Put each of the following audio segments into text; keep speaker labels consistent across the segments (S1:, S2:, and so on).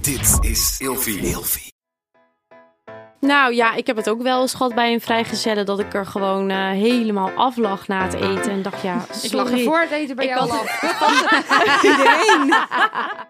S1: Dit is Ilfie.
S2: Nou ja, ik heb het ook wel eens gehad bij een vrijgezelle dat ik er gewoon eh, helemaal af lag na het eten. En dacht, ja, sorry.
S3: Ik lag er voor het eten bij
S2: Ik
S3: jou
S2: had-
S3: al af.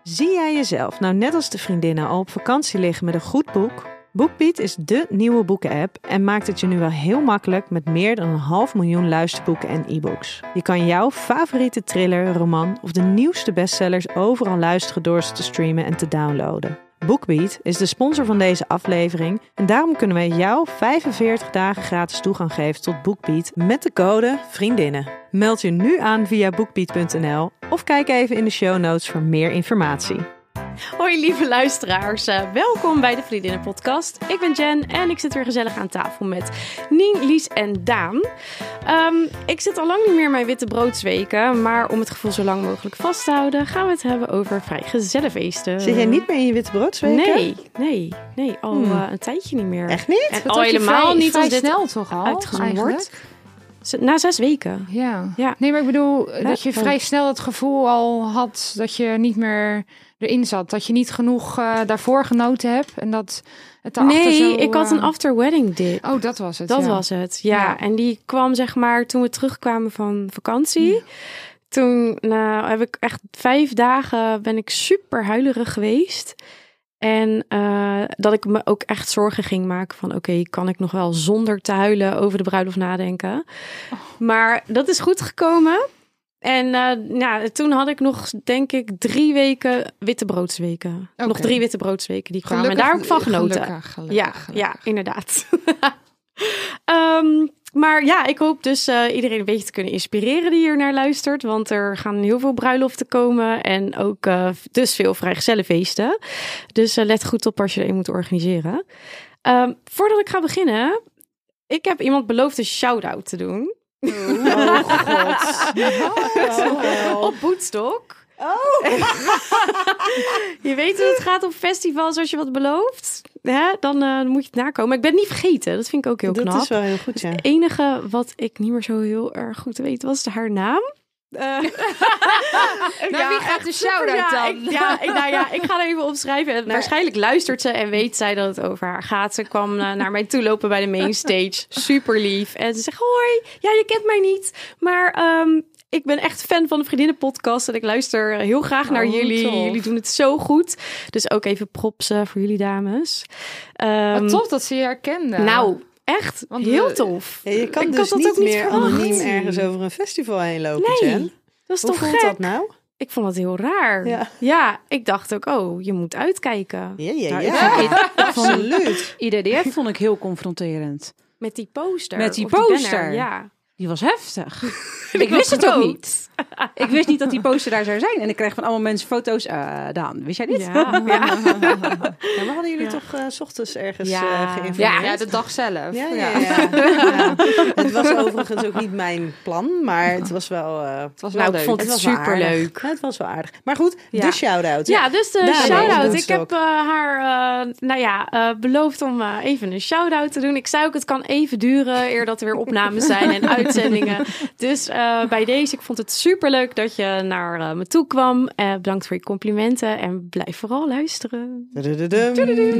S4: Zie jij jezelf nou net als de vriendinnen al op vakantie liggen met een goed boek? BookBeat is dé nieuwe boeken-app en maakt het je nu wel heel makkelijk met meer dan een half miljoen luisterboeken en e-books. Je kan jouw favoriete thriller, roman of de nieuwste bestsellers overal luisteren door ze te streamen en te downloaden. BookBeat is de sponsor van deze aflevering en daarom kunnen wij jou 45 dagen gratis toegang geven tot BookBeat met de code VRIENDINNEN. Meld je nu aan via bookbeat.nl of kijk even in de show notes voor meer informatie.
S2: Hoi lieve luisteraars, eh, welkom bij de Vriendinnen Podcast. Ik ben Jen en ik zit weer gezellig aan tafel met Nien, Lies en Daan. Ehm, ik zit al lang niet meer in mijn witte broodsweken, maar om het gevoel zo lang mogelijk vast te houden, gaan we het hebben over vrijgezellenfeesten.
S4: Zit jij niet meer in je witte broodsweken?
S2: Nee, nee, nee, al
S3: Hmm.
S2: eh, een tijdje niet meer.
S4: Echt niet?
S2: En
S3: Dat
S2: al
S3: had je
S2: helemaal
S3: vrij-
S2: niet
S3: vrij
S2: als dit
S3: snel toch al?
S2: uitgezonden wordt.
S3: eigenlijk?
S2: Z- Na zes weken.
S3: Ja.
S2: Ja.
S3: Nee, maar ik bedoel eh, dat je
S2: oh.
S3: vrij snel het gevoel al had dat je niet meer erin zat. Dat je niet genoeg eh, daarvoor genoten hebt. En dat het daarachter
S2: nee,
S3: zo,
S2: ik had
S3: eh,
S2: een after-wedding dip.
S3: Oh, dat was het.
S2: Dat
S3: ja.
S2: was het, ja.
S3: Ja.
S2: En die kwam zeg maar toen we terugkwamen van vakantie. Toen nou, heb ik echt vijf dagen ben ik super huilerig geweest. En eh, dat ik me ook echt zorgen ging maken van oké, kan ik nog wel zonder te huilen over de bruiloft nadenken.
S3: Oh.
S2: Maar dat is goed gekomen. En eh, nou, toen had ik nog denk ik drie weken witte broodsweken. Nog
S3: Oké.
S2: drie witte broodsweken die kwamen.
S3: Gelukkig-
S2: en daar ook van genoten.
S3: Gelukkig, gelukkig,
S2: ja,
S3: gelukkig.
S2: ja, inderdaad. Ehm, maar ja, ik hoop dus eh, iedereen een beetje te kunnen inspireren die hier naar luistert. Want er gaan heel veel bruiloften komen en ook eh, dus veel vrijgezellenfeesten. Dus eh, let goed op als je er een moet organiseren. Ehm, voordat ik ga beginnen, ik heb iemand beloofd een shout-out te doen.
S4: Oh god.
S2: Op Boetstok.
S4: Oh.
S2: je weet hoe het gaat op festivals als je wat belooft. Hè? Dan eh, moet je het nakomen. Maar ik ben het niet vergeten. Dat vind ik ook heel knap.
S4: Dat is wel heel Dus goed, ja.
S2: Het enige wat ik niet meer zo heel erg goed weet was haar naam. Eh,
S3: Nou, wie gaat de shout-out
S2: ja,
S3: dan?
S2: Ik, ja, ik, nou ja, ik ga er even opschrijven. En Waarschijnlijk luistert ze en weet zij dat het over haar gaat. Ze kwam eh, naar mij toe lopen bij de mainstage. Super lief. En ze zegt, hoi, ja, je kent mij niet. Maar ehm, ik ben echt fan van de Vriendinnenpodcast. En ik luister eh, heel graag naar
S3: Oh,
S2: jullie.
S3: tof.
S2: Jullie doen het zo goed. Dus ook even props eh, voor jullie dames.
S3: Wat
S2: Ehm,
S3: tof dat ze je herkende.
S2: Nou, echt
S3: Want
S2: heel
S3: we-
S2: tof.
S4: Ja, je kan
S2: Ik
S4: dus
S2: had dat
S4: niet
S2: ook niet
S4: meer
S2: verwacht.
S4: anoniem ergens over een festival heen lopen,
S2: Nee,
S4: Jen.
S2: dat is
S4: Hoe
S2: toch
S4: voelt
S2: gek?
S4: dat nou?
S2: Ik vond dat heel raar.
S4: Ja.
S2: ik dacht ook, oh, je moet uitkijken.
S4: Ja, ja,
S5: Nou,
S4: ja.
S5: ik vond dit-
S4: Absoluut.
S5: IDDF vond ik heel confronterend.
S2: Met die poster.
S5: Met die
S2: of
S5: poster.
S2: banner, ja.
S5: Die was heftig. ik wist het ook niet. Ik wist niet dat die poster daar zou zijn. En ik kreeg van allemaal mensen foto's. eh Daan, wist jij dit?
S2: Ja, ja.
S4: Ja, maar hadden jullie
S2: Ja.
S4: toch eh, s ochtends ergens
S2: Ja.
S4: eh
S3: Ja,
S4: geïnformeerd?
S3: ja, de dag zelf.
S4: Ja, ja, ja. Ja. Het was overigens ook niet mijn plan, maar het was wel... eh,
S3: Het was wel
S2: Nou, ik
S3: leuk.
S2: vond het,
S4: was wel aardig.
S2: superleuk.
S4: Ja, het was wel aardig. Maar goed,
S2: Ja.
S4: de shout-out.
S2: Ja, dus de
S4: Daar
S2: shout-out.
S4: is
S2: Ik
S4: het
S2: heb eh, haar, eh, nou ja, eh, beloofd om eh, even een shout-out te doen. Ik zei ook, het kan even duren eer dat er weer opnames zijn en uitzendingen. Dus eh, bij deze, ik vond het superleuk dat je naar eh, me toe kwam. Eh, bedankt voor je complimenten en blijf vooral luisteren.
S4: Dudududum.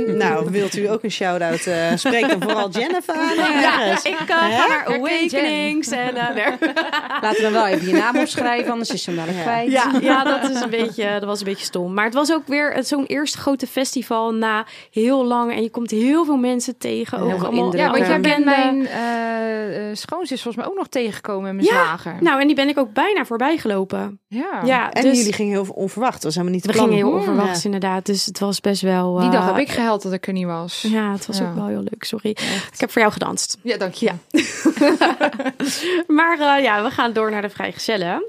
S4: Nou, wilt u ook een shout-out? eh spreek dan vooral Jennifer aan.
S2: Ja,
S4: ergens.
S2: ik eh, ga naar
S3: Herken
S2: Awakenings en... eh, nee.
S5: Laten we dan wel even je naam opschrijven, anders is ze hem dadelijk
S4: Ja.
S5: kwijt.
S2: Ja, ja dat, is een beetje, dat was een beetje stom. Maar het was ook weer het- zo'n eerste grote festival na heel lang. En je komt heel veel mensen tegen. Ook
S5: heel veel
S2: allemaal
S5: inderen.
S3: Ja, want jij bent
S2: bekende-
S3: mijn eh, eh, schoonzus volgens mij ook nog tegengekomen in mijn
S2: Ja,
S3: zwager.
S2: Nou, en die ben ik ook bijna voorbij gelopen.
S3: ja.
S2: Ja,
S4: En
S2: dus
S4: jullie gingen heel onverwacht. Dat was helemaal niet
S2: we
S4: het plan.
S2: gingen heel
S4: Ja.
S2: onverwachts inderdaad. Dus het was best wel...
S3: Die dag
S2: eh,
S3: heb ik gehuild dat ik er niet was. Ja,
S2: Ja, het was
S3: Ja.
S2: ook wel heel leuk, sorry. Ik heb voor jou gedanst.
S3: dank je.
S2: Ja. Maar eh, ja, we gaan door naar de vrijgezellen.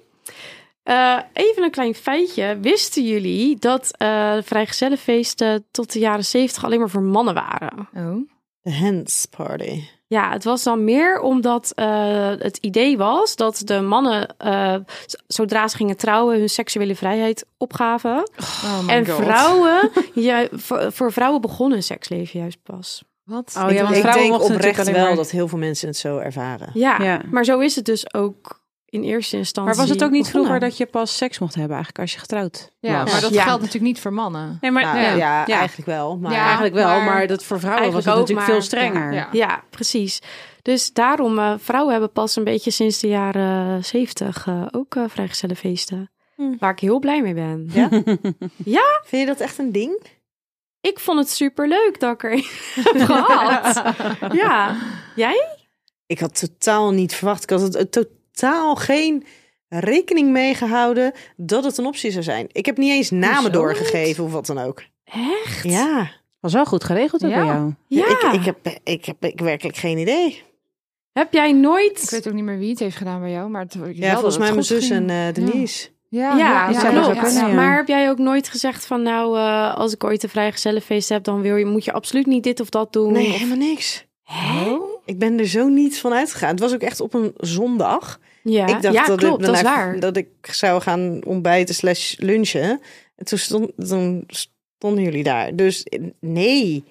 S2: Eh, even een klein feitje. Wisten jullie dat eh, de vrijgezellenfeesten tot de jaren zeventig alleen maar voor mannen waren?
S3: Oh.
S4: De Hands Party.
S2: Ja, het was dan meer omdat eh, het idee was dat de mannen, eh, z- zodra ze gingen trouwen, hun seksuele vrijheid opgaven.
S3: Oh my
S2: en
S3: God.
S2: vrouwen, ja, voor, voor vrouwen begon hun seksleven juist pas.
S3: Wat?
S5: Oh ja, want
S4: ik
S5: vrouwen
S4: denk
S5: mochten natuurlijk
S4: oprecht
S5: alleen
S4: wel
S5: maar-
S4: dat heel veel mensen het zo ervaren.
S2: Ja,
S5: Ja.
S2: maar zo is het dus ook. in eerste instantie.
S5: Maar was het ook niet
S2: begonnen.
S5: vroeger dat je pas seks mocht hebben eigenlijk als je getrouwd
S3: Ja,
S5: was?
S3: maar dat
S2: Ja.
S3: geldt natuurlijk niet voor mannen.
S5: Nee, maar
S4: Nou,
S5: ja.
S4: ja,
S5: Ja.
S4: eigenlijk wel. Maar
S3: Ja.
S5: eigenlijk wel, maar,
S3: maar-
S5: dat voor vrouwen was
S2: Eigenlijk
S5: het
S2: ook,
S5: natuurlijk
S2: maar-
S5: veel strenger.
S3: Ja.
S2: Ja, precies. Dus daarom, eh, vrouwen hebben pas een beetje sinds de jaren zeventig ook eh vrijgezellenfeesten.
S4: Hm.
S2: Waar ik heel blij mee ben.
S4: Ja? vind je dat echt een ding?
S2: Ik vond het superleuk dat ik er een heb gehad. Ja,
S4: Ik had totaal niet verwacht. Ik had het, eh, totaal geen rekening mee gehouden dat het een optie zou zijn. Ik heb niet eens namen
S2: Hoezo
S4: doorgegeven of wat dan ook.
S2: echt?
S4: Ja,
S5: Was wel goed geregeld ook
S3: Ja.
S5: bij jou.
S2: Ja.
S4: Ik, ik, heb, ik heb ik werkelijk geen idee.
S2: Heb jij nooit...
S3: Ik weet ook niet meer wie het heeft gedaan bij jou, maar het, wel
S4: Ja,
S3: dat
S4: volgens
S3: het
S4: mij mijn
S3: goed
S4: zus
S3: ging.
S4: en eh, Denise.
S2: Ja,
S3: Ja, ja,
S5: dat
S3: ja,
S5: zou
S3: ja,
S5: wel
S3: ja.
S5: kunnen, ja.
S2: Maar heb jij ook nooit gezegd van nou, eh, als ik ooit een vrijgezellenfeest heb, dan wil je, moet je absoluut niet dit of dat doen?
S4: Nee,
S2: Of-
S4: helemaal niks.
S2: Hè?
S4: Ik ben er zo niet van uitgegaan. Het was ook echt op een zondag.
S2: Ja,
S4: ik dacht
S2: ja
S4: dat,
S2: klopt,
S4: ik,
S2: dat is
S4: daarna-
S2: waar.
S4: dat ik zou gaan ontbijten slash lunchen. En toen, stond, toen stonden jullie daar. Dus eh, nee,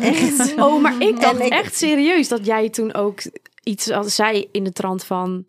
S4: echt.
S2: Oh, maar ik dacht
S4: En ik-
S2: echt serieus dat jij toen ook iets als zei in de trant van...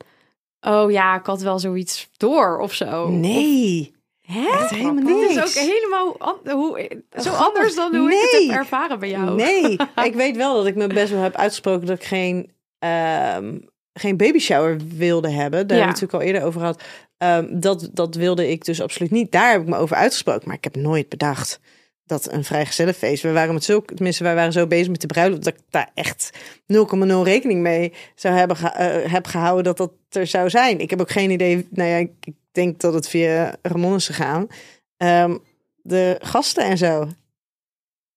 S2: Oh ja, ik had wel zoiets door Oh, of zo.
S4: Nee,
S2: Hè?
S4: echt helemaal
S2: Dit
S4: niks.
S2: is ook helemaal an- hoe, zo
S4: grappig.
S2: anders dan hoe ik het
S4: Nee.
S2: heb ervaren bij jou.
S4: Nee, ik weet wel dat ik me best wel heb uitgesproken dat ik geen, ehm geen baby shower wilde hebben. Daar
S2: Ja.
S4: hebben we het natuurlijk al eerder over gehad. Ehm, dat, dat wilde ik dus absoluut niet. Daar heb ik me over uitgesproken. Maar ik heb nooit bedacht dat een vrijgezellenfeest... We waren met zo, tenminste, wij waren zo bezig met de bruiloft... dat ik daar echt 0,0 rekening mee zou hebben ge- eh, heb gehouden dat dat er zou zijn. Ik heb ook geen idee... Nou ja, ik, ik denk dat het via Ramon is gegaan. Ehm, de gasten en zo.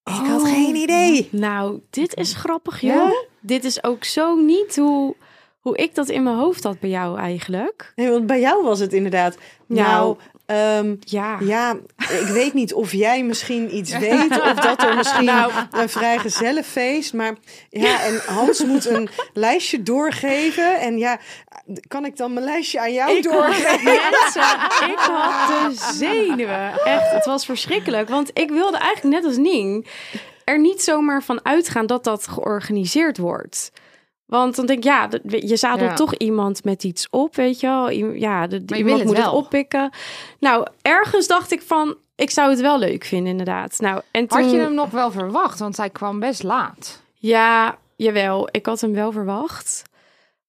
S4: Ik had
S2: Oh.
S4: geen idee.
S2: Nou, dit is grappig, joh.
S3: Ja?
S2: Dit is ook zo niet hoe, hoe ik dat in mijn hoofd had bij jou eigenlijk.
S4: Nee, want bij jou was het inderdaad. Nou,
S2: Nou. Ah.
S4: ehm,
S2: Ja.
S4: ja, ik weet niet of jij misschien iets weet. Of dat er misschien
S2: Nou.
S4: een vrijgezellenfeest. Maar ja, en Hans moet een lijstje doorgeven. En ja, kan ik dan mijn lijstje aan jou doorgeven?
S2: Mensen, ik had de zenuwen. Echt, het was verschrikkelijk. Want ik wilde eigenlijk net als Ning er niet zomaar van uitgaan dat dat georganiseerd wordt. Want dan denk ik, ja, dat- je zadelt
S3: Ja.
S2: toch iemand met iets op, weet je wel. I- Ja, de,
S3: wil
S2: iemand
S3: het
S2: moet het
S3: wel.
S2: oppikken. Nou, ergens dacht ik van, ik zou het wel leuk vinden inderdaad. Nou, en toen...
S3: Had je hem nog wel verwacht? Want hij kwam best laat.
S2: Ja, jawel. Ik had hem wel verwacht.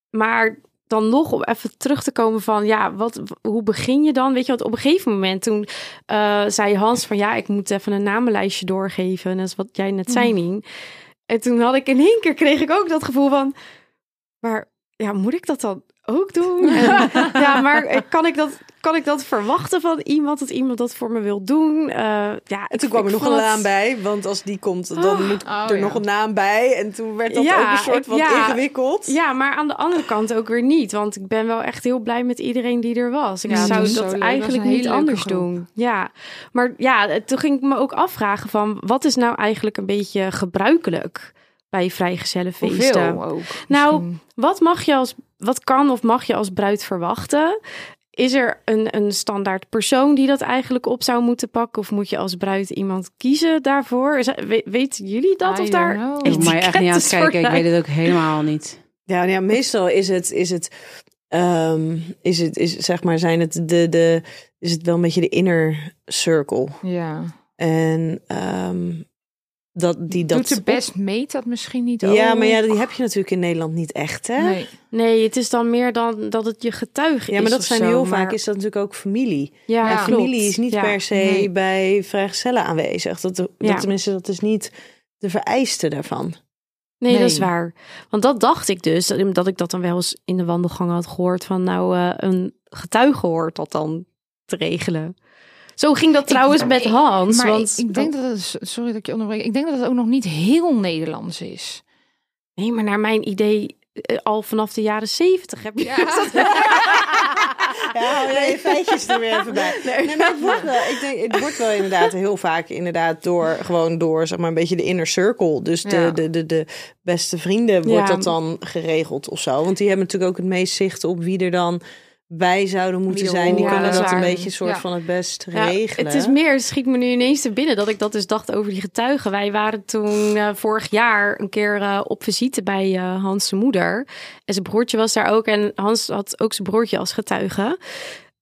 S2: Maar dan nog om even terug te komen van, ja, wat, w- hoe begin je dan? Weet je, want op een gegeven moment toen eh, zei Hans van, ja, ik moet even een namenlijstje doorgeven. Dat is wat jij net
S4: Mm.
S2: zei, Nien. En toen had ik in één keer, kreeg ik ook dat gevoel van, maar ja, moet ik dat dan ook doen? En, ja, maar eh, kan ik, dat, kan ik dat verwachten van iemand, dat iemand dat voor me wil doen? Eh, ja,
S4: En toen kwam er nog een naam bij. Want als die komt, dan moet
S3: oh
S4: er
S3: ja.
S4: nog een naam bij. En toen werd dat
S2: Ja,
S4: ook een soort
S2: ik-
S4: van
S2: ja.
S4: ingewikkeld.
S2: Ja, maar aan de andere kant ook weer niet. Want ik ben wel echt heel blij met iedereen die er was. Ik
S3: Ja, het
S2: zou
S3: was zo
S2: dat
S3: leuk. Het was
S2: eigenlijk
S3: een hele
S2: niet
S3: leuke
S2: anders
S3: groep.
S2: doen. Ja, maar ja, eh, toen ging ik me ook afvragen van... wat is nou eigenlijk een beetje gebruikelijk bij vrijgezellenfeesten?
S3: Hoeveel ook.
S2: Nou,
S3: misschien.
S2: Wat mag je als... Wat kan of mag je als bruid verwachten? Is er een, een standaard persoon die dat eigenlijk op zou moeten pakken? Of moet je als bruid iemand kiezen daarvoor? Is- we- weten jullie dat?
S3: I
S2: of
S3: don't
S2: daar
S3: know.
S5: Ik hoef mij echt niet aan het
S2: Etiketten
S5: kijken. Ik
S2: soort-
S5: weet het ook helemaal niet.
S4: Ja, nou ja, meestal is het, is het, ehm, is het, is, zeg maar, zijn het de, de, is het wel een beetje de inner circle.
S3: Ja.
S4: En ehm, dat die dat.
S3: Doet ze best, meet dat misschien niet ook.
S4: Ja, maar ja, die heb je natuurlijk in Nederland niet echt, hè?
S3: Nee.
S2: oh. Nee, het is dan meer dan dat het je getuige is.
S4: Ja, maar dat
S2: of
S4: zijn
S2: zo,
S4: heel
S2: maar-
S4: vaak is dat natuurlijk ook familie.
S2: Ja,
S3: En
S4: En familie
S2: klopt.
S4: is niet
S2: Ja.
S4: per se
S3: nee.
S4: bij vrijgezellen aanwezig. Dat, dat,
S2: Ja.
S4: Tenminste, dat is niet de vereiste daarvan.
S2: Nee, dat is
S3: Nee.
S2: waar. Want dat dacht ik dus, dat dat ik dat dan wel eens in de wandelgang had gehoord van nou, eh, een getuige hoort dat dan te regelen. Zo ging dat trouwens met
S3: ik-
S2: Hans.
S3: Maar
S2: want,
S3: ik, ik denk dat het, sorry dat ik je onderbreek, ik denk dat het ook nog niet heel Nederlands is.
S2: Nee, maar naar mijn idee, eh, al vanaf de jaren zeventig heb je...
S4: Ja, hou jij je feitjes er weer even bij. Nee, maar het wordt wel, ik denk, het wordt wel inderdaad heel vaak inderdaad door, gewoon door, zeg maar, een beetje de inner circle. Dus de,
S3: Ja.
S4: de, de, de beste vrienden wordt
S2: Ja.
S4: dat dan geregeld of zo. Want die hebben natuurlijk ook het meest zicht op wie er dan wij zouden moeten
S5: Wie
S4: zijn. Die
S2: ja,
S4: kunnen
S2: dat is
S4: dat een
S3: waar.
S4: beetje soort
S3: Ja.
S4: van het best
S2: Ja,
S4: regelen.
S2: het is meer, het schiet me nu ineens te binnen dat ik dat dus dacht over die getuigen. Wij waren toen eh, vorig jaar een keer eh, op visite bij eh, Hans' moeder. En zijn broertje was daar ook. En Hans had ook zijn broertje als getuige.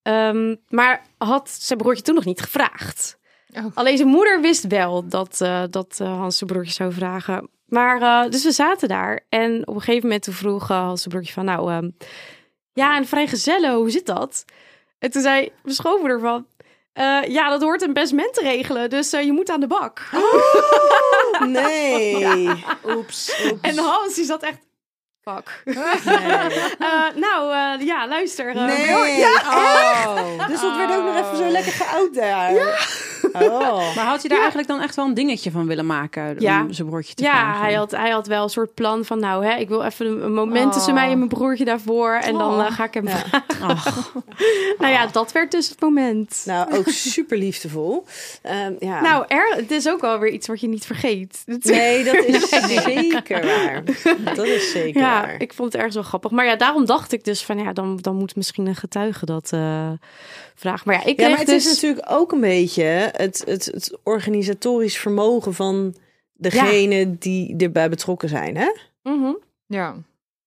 S2: Ehm, maar had zijn broertje toen nog niet gevraagd.
S3: Oh.
S2: Alleen zijn moeder wist wel dat, eh, dat eh, Hans zijn broertje zou vragen. Maar eh, dus we zaten daar. En op een gegeven moment toen vroeg eh, Hans zijn broertje van... Nou, ehm, ja, en vrijgezellen, hoe zit dat? En toen zei mijn schoonmoeder van... eh, ja, dat hoort een best te regelen, dus eh, je moet aan de bak.
S4: Oh. Nee. Oeps. oeps.
S2: En Hans, die zat echt... Fuck. Eh, nou, eh, ja, luister. eh,
S4: Nee.
S2: maar-
S4: nee.
S5: Oh.
S4: Dus dat werd ook nog even
S2: Oh.
S4: zo lekker geout daar. Oh.
S5: Maar had hij daar eigenlijk dan echt wel een dingetje van willen maken?
S2: Ja.
S5: Om zijn broertje te
S2: Ja,
S5: vragen?
S2: hij had, hij had wel een soort plan van... Nou, hè, ik wil even een, een moment
S3: Oh.
S2: tussen mij en mijn broertje daarvoor. En dan
S3: Oh.
S2: eh, ga ik hem...
S4: Ja. Oh.
S5: Ach,
S2: Nou ja, dat werd dus het moment.
S4: Nou, ook super liefdevol. Ehm, ja.
S2: Nou, er, het is ook wel weer iets wat je niet vergeet.
S4: nee, dat is zeker waar. Dat is zeker
S2: Ja,
S4: waar.
S2: ik vond het ergens wel grappig. Maar ja, daarom dacht ik dus van ja, dan, dan moet misschien een getuige dat eh vragen. Maar ja, ik
S4: Ja,
S2: kreeg
S4: maar het
S2: dus...
S4: is natuurlijk ook een beetje het, het, het organisatorisch vermogen van degene die erbij betrokken zijn. Hè?
S2: Mhm.
S3: Ja.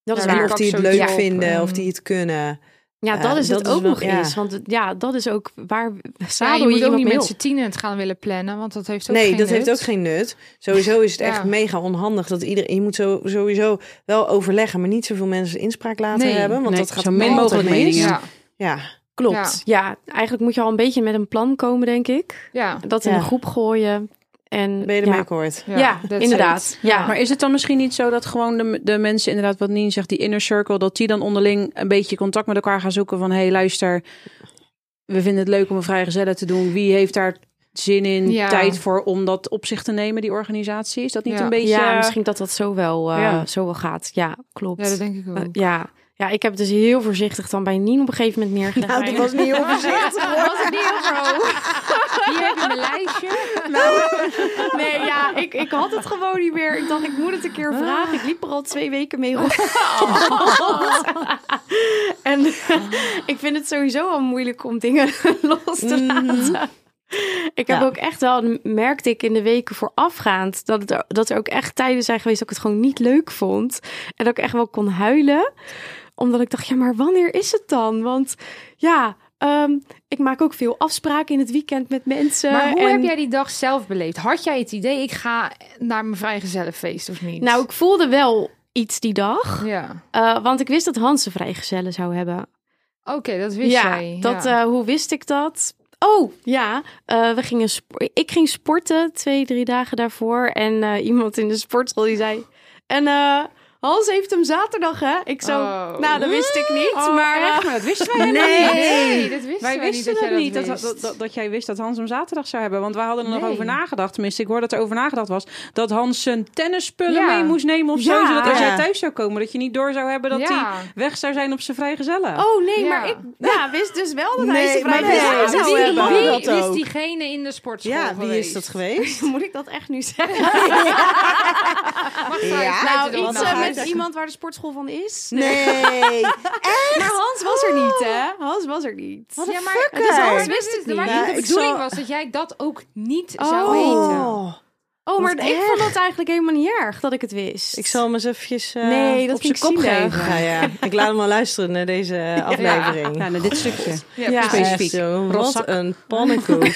S4: Dat
S3: is
S4: is
S3: waar.
S4: of die het
S3: Zo
S4: leuk
S2: ja.
S4: vinden of
S3: Mm.
S4: die het kunnen.
S2: Ja,
S4: Ja,
S2: dat is
S4: dat
S2: het
S4: is
S2: ook
S4: wel-
S2: nog
S4: ja.
S2: eens. Want het- ja, dat is ook waar
S3: Ja,
S2: zadel
S3: je moet ook
S2: iemand
S3: niet
S2: mee
S3: met
S2: op.
S3: z'n tienen het gaan willen plannen, want dat heeft ook
S4: nee,
S3: geen
S4: dat heeft
S3: nut.
S4: ook geen nut. Sowieso is het
S3: Ja.
S4: echt mega onhandig dat iedereen. Je moet zo, sowieso wel overleggen, maar niet zoveel mensen inspraak laten
S3: Nee,
S4: hebben. Want
S5: nee,
S4: dat gaat
S5: zo min
S4: altijd
S5: mogelijk
S4: mis.
S5: meningen.
S3: Ja,
S4: Ja.
S2: Klopt. Ja. eigenlijk moet je al een beetje met een plan komen, denk ik.
S3: ja,
S2: Dat in
S4: Ja.
S2: een groep gooien. En,
S4: Ben je
S2: ja.
S4: ermee akkoord?
S2: Ja,
S3: ja, that's
S2: inderdaad.
S3: it.
S2: Ja.
S5: Maar is het dan misschien niet zo dat gewoon de, de mensen, inderdaad, wat Nien zegt, die inner circle, dat die dan onderling een beetje contact met elkaar gaan zoeken van, hé, hey, luister, we vinden het leuk om een vrijgezellen te doen. Wie heeft daar zin in,
S3: Ja.
S5: tijd voor om dat op zich te nemen, die organisatie? Is dat niet
S3: Ja.
S5: een beetje...
S2: ja, misschien dat dat zo wel, eh,
S5: Ja.
S2: zo wel gaat. Ja, klopt.
S3: Ja, dat denk ik ook.
S2: Eh, ja. ja, ik heb het dus heel voorzichtig dan bij Nien op een gegeven moment neergelegd.
S4: Nou, dat was niet heel voorzichtig.
S2: was het niet bro.
S3: Hier heb je mijn lijstje.
S5: Nou,
S2: Nee, ja, ik, ik had het gewoon niet meer. Ik dacht, ik moet het een keer vragen. Ik liep er al twee weken mee rond.
S3: Oh.
S2: En ik vind het sowieso al moeilijk om dingen los
S3: Mm,
S2: te laten. Ik heb
S4: Ja.
S2: ook echt wel, merkte ik in de weken voorafgaand, dat, het, er- dat er ook echt tijden zijn geweest dat ik het gewoon niet leuk vond. En dat ik echt wel kon huilen. Omdat ik dacht, ja, maar wanneer is het dan? Want ja, ehm, ik maak ook veel afspraken in het weekend met mensen.
S3: Maar hoe
S2: eh, en...
S3: heb jij die dag zelf beleefd? Had jij het idee, ik ga naar mijn vrijgezellenfeest of niet?
S2: Nou, ik voelde wel iets die dag.
S3: Ja.
S2: eh, want ik wist dat Hans een vrijgezellen zou hebben.
S3: Oké, dat wist
S2: ja,
S3: jij.
S2: Dat,
S3: ja.
S2: eh, hoe wist ik dat? Oh, ja. eh, we gingen sp- ik ging sporten twee, drie dagen daarvoor. En eh, iemand in de sportschool die zei... En eh, Hans heeft hem zaterdag, hè? Ik zo...
S3: Oh.
S2: Nou, dat wist ik niet. maar eh,
S5: echt, maar dat wisten wij helemaal
S3: Nee,
S5: niet.
S3: Ah, nee, dat wisten
S5: Wij
S3: wij
S5: wisten
S3: niet dat jij dat
S5: dat niet, dat,
S3: wist.
S5: dat, dat, dat jij wist dat Hans hem zaterdag zou hebben. Want wij hadden er nog
S3: Nee.
S5: over nagedacht. Tenminste, ik hoorde dat er over nagedacht was. Dat Hans zijn tennisspullen
S3: Ja.
S5: mee moest nemen of zo.
S2: Ja.
S5: Zodat als
S4: Ja.
S5: jij thuis zou komen, dat je niet door zou hebben dat hij
S3: Ja.
S5: weg zou zijn op zijn vrijgezellen.
S2: Oh, nee,
S3: Ja.
S2: maar ik ja, wist dus wel dat hij
S4: Nee,
S2: zijn
S4: maar
S2: vrijgezellen
S4: nee,
S2: zou
S4: wie-
S2: hebben.
S4: hebben.
S3: Wie
S4: dat
S3: is
S4: ook.
S3: diegene in de sportschool
S4: Ja, wie is
S3: geweest?
S4: dat geweest?
S2: Moet ik dat echt nu zeggen?
S3: Mag zij
S4: Ja.
S3: sluiten
S2: nou,
S3: dan
S2: iets
S4: wel
S2: eh,
S3: af?
S4: uit.
S2: met iemand waar de sportschool van is.
S4: Nee.
S2: Maar Hans was er niet, hè? Hans was er niet.
S3: ja, maar
S4: fucker.
S3: het is
S4: Maar
S3: anders
S2: dit
S3: wist
S2: is-
S3: het niet.
S2: maar
S3: Maar
S4: dit
S3: de
S4: is-
S3: bedoeling
S4: zal-
S3: was dat jij dat ook niet
S2: Oh.
S3: zou weten.
S4: Oh.
S2: Oh, maar
S4: Wat
S2: ik
S4: erg.
S2: vond het eigenlijk helemaal niet erg dat ik het wist.
S4: Ik zal hem eens eventjes eh,
S2: Nee, dat
S4: op zijn
S2: vind
S4: kop
S2: ik zielig.
S4: geven. Ja, ja. Ik laat hem wel luisteren naar deze eh, aflevering.
S5: Nou, naar dit stukje.
S2: Ja.
S4: Echt
S5: specifiek.
S4: zo,
S5: Rotzak.
S4: wat een pannenkoek.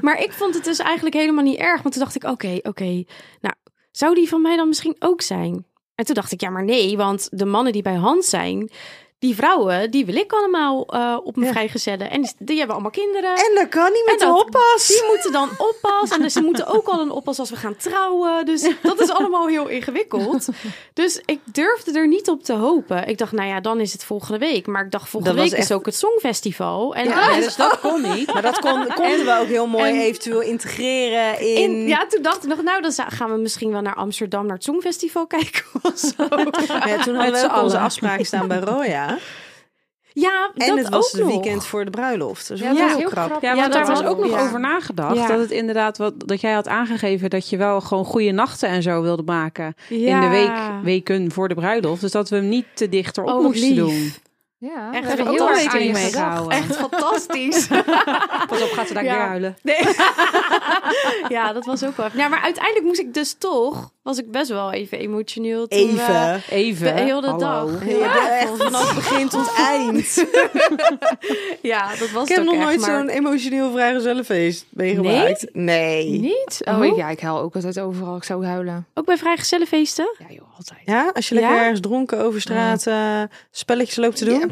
S2: Maar ik vond het dus eigenlijk helemaal niet erg. Want toen dacht ik, oké, oké. nou, zou die van mij dan misschien ook zijn? En toen dacht ik, ja, maar nee. Want de mannen die bij Hans zijn, die vrouwen, die wil ik allemaal eh, op me
S4: Ja.
S2: vrijgezellen. En die, die hebben allemaal kinderen.
S4: En dat kan niet met
S2: En
S4: de
S2: dat-
S4: hoppas.
S2: Die moeten dan oppassen. En ze moeten ook al een oppas als we gaan trouwen. Dus dat is allemaal heel ingewikkeld. Dus ik durfde er niet op te hopen. Ik dacht, nou ja, dan is het volgende week. Maar ik dacht, volgende
S4: Dat was
S2: week is
S4: echt-
S2: ook het Songfestival. En
S5: Ja, dus dat kon niet.
S4: Maar dat kon, konden we ook heel mooi eventueel integreren in...
S2: in, ja, toen dacht ik nog, nou, dan za- gaan we misschien wel naar Amsterdam naar het Songfestival kijken of zo.
S4: Ja, toen
S5: Met
S4: hadden
S5: z'n
S4: we ook onze
S5: allen.
S4: afspraken staan bij Roya.
S2: Ja,
S4: En
S2: dat
S4: het was
S2: ook
S4: het
S2: nog.
S4: weekend voor de bruiloft. Dus
S3: Ja,
S4: dat
S3: dat
S4: was
S3: is
S4: heel
S3: heel
S4: krap.
S3: grappig.
S5: Ja,
S2: dat
S5: want daar was
S2: was
S5: ook nog
S2: ja.
S5: over nagedacht.
S2: Ja.
S5: Dat het inderdaad, wat, dat jij had aangegeven dat je wel gewoon goede nachten en zo wilde maken.
S2: Ja.
S5: In de week, weken voor de bruiloft. Dus dat we hem niet te dicht erop
S2: Oh, wat
S5: moesten
S2: lief.
S5: doen.
S3: Ja, we
S2: Echt
S3: hebben
S2: ook
S3: heel erg
S2: rekening
S3: aan je
S2: mee
S3: gedacht.
S5: gehouden.
S2: Echt fantastisch.
S5: Pas op, gaat ze daar
S2: Ja.
S5: weer huilen.
S2: Nee. ja, dat was ook wel. even- Ja, maar uiteindelijk moest ik dus toch, was ik best wel even emotioneel. Toen eh, we-
S4: Even.
S2: de
S5: Even.
S2: hele
S5: Hallo.
S2: dag.
S4: eh, Ja,
S2: Ja,
S4: echt vanaf begin tot eind.
S2: ja, dat was
S4: Ik heb
S2: het ook
S4: nog
S2: echt,
S4: nooit
S2: maar-
S4: zo'n emotioneel vrijgezellenfeest meegemaakt. Nee?
S3: Niet? Oh,
S2: Oh.
S3: ja, ik huil ook altijd overal. Ik zou huilen.
S2: Ook bij vrijgezellenfeesten?
S3: Ja joh, altijd.
S4: Ja, als je lekker
S2: Ja?
S4: ergens dronken over straat eh, spelletjes loopt te doen.
S3: Ja.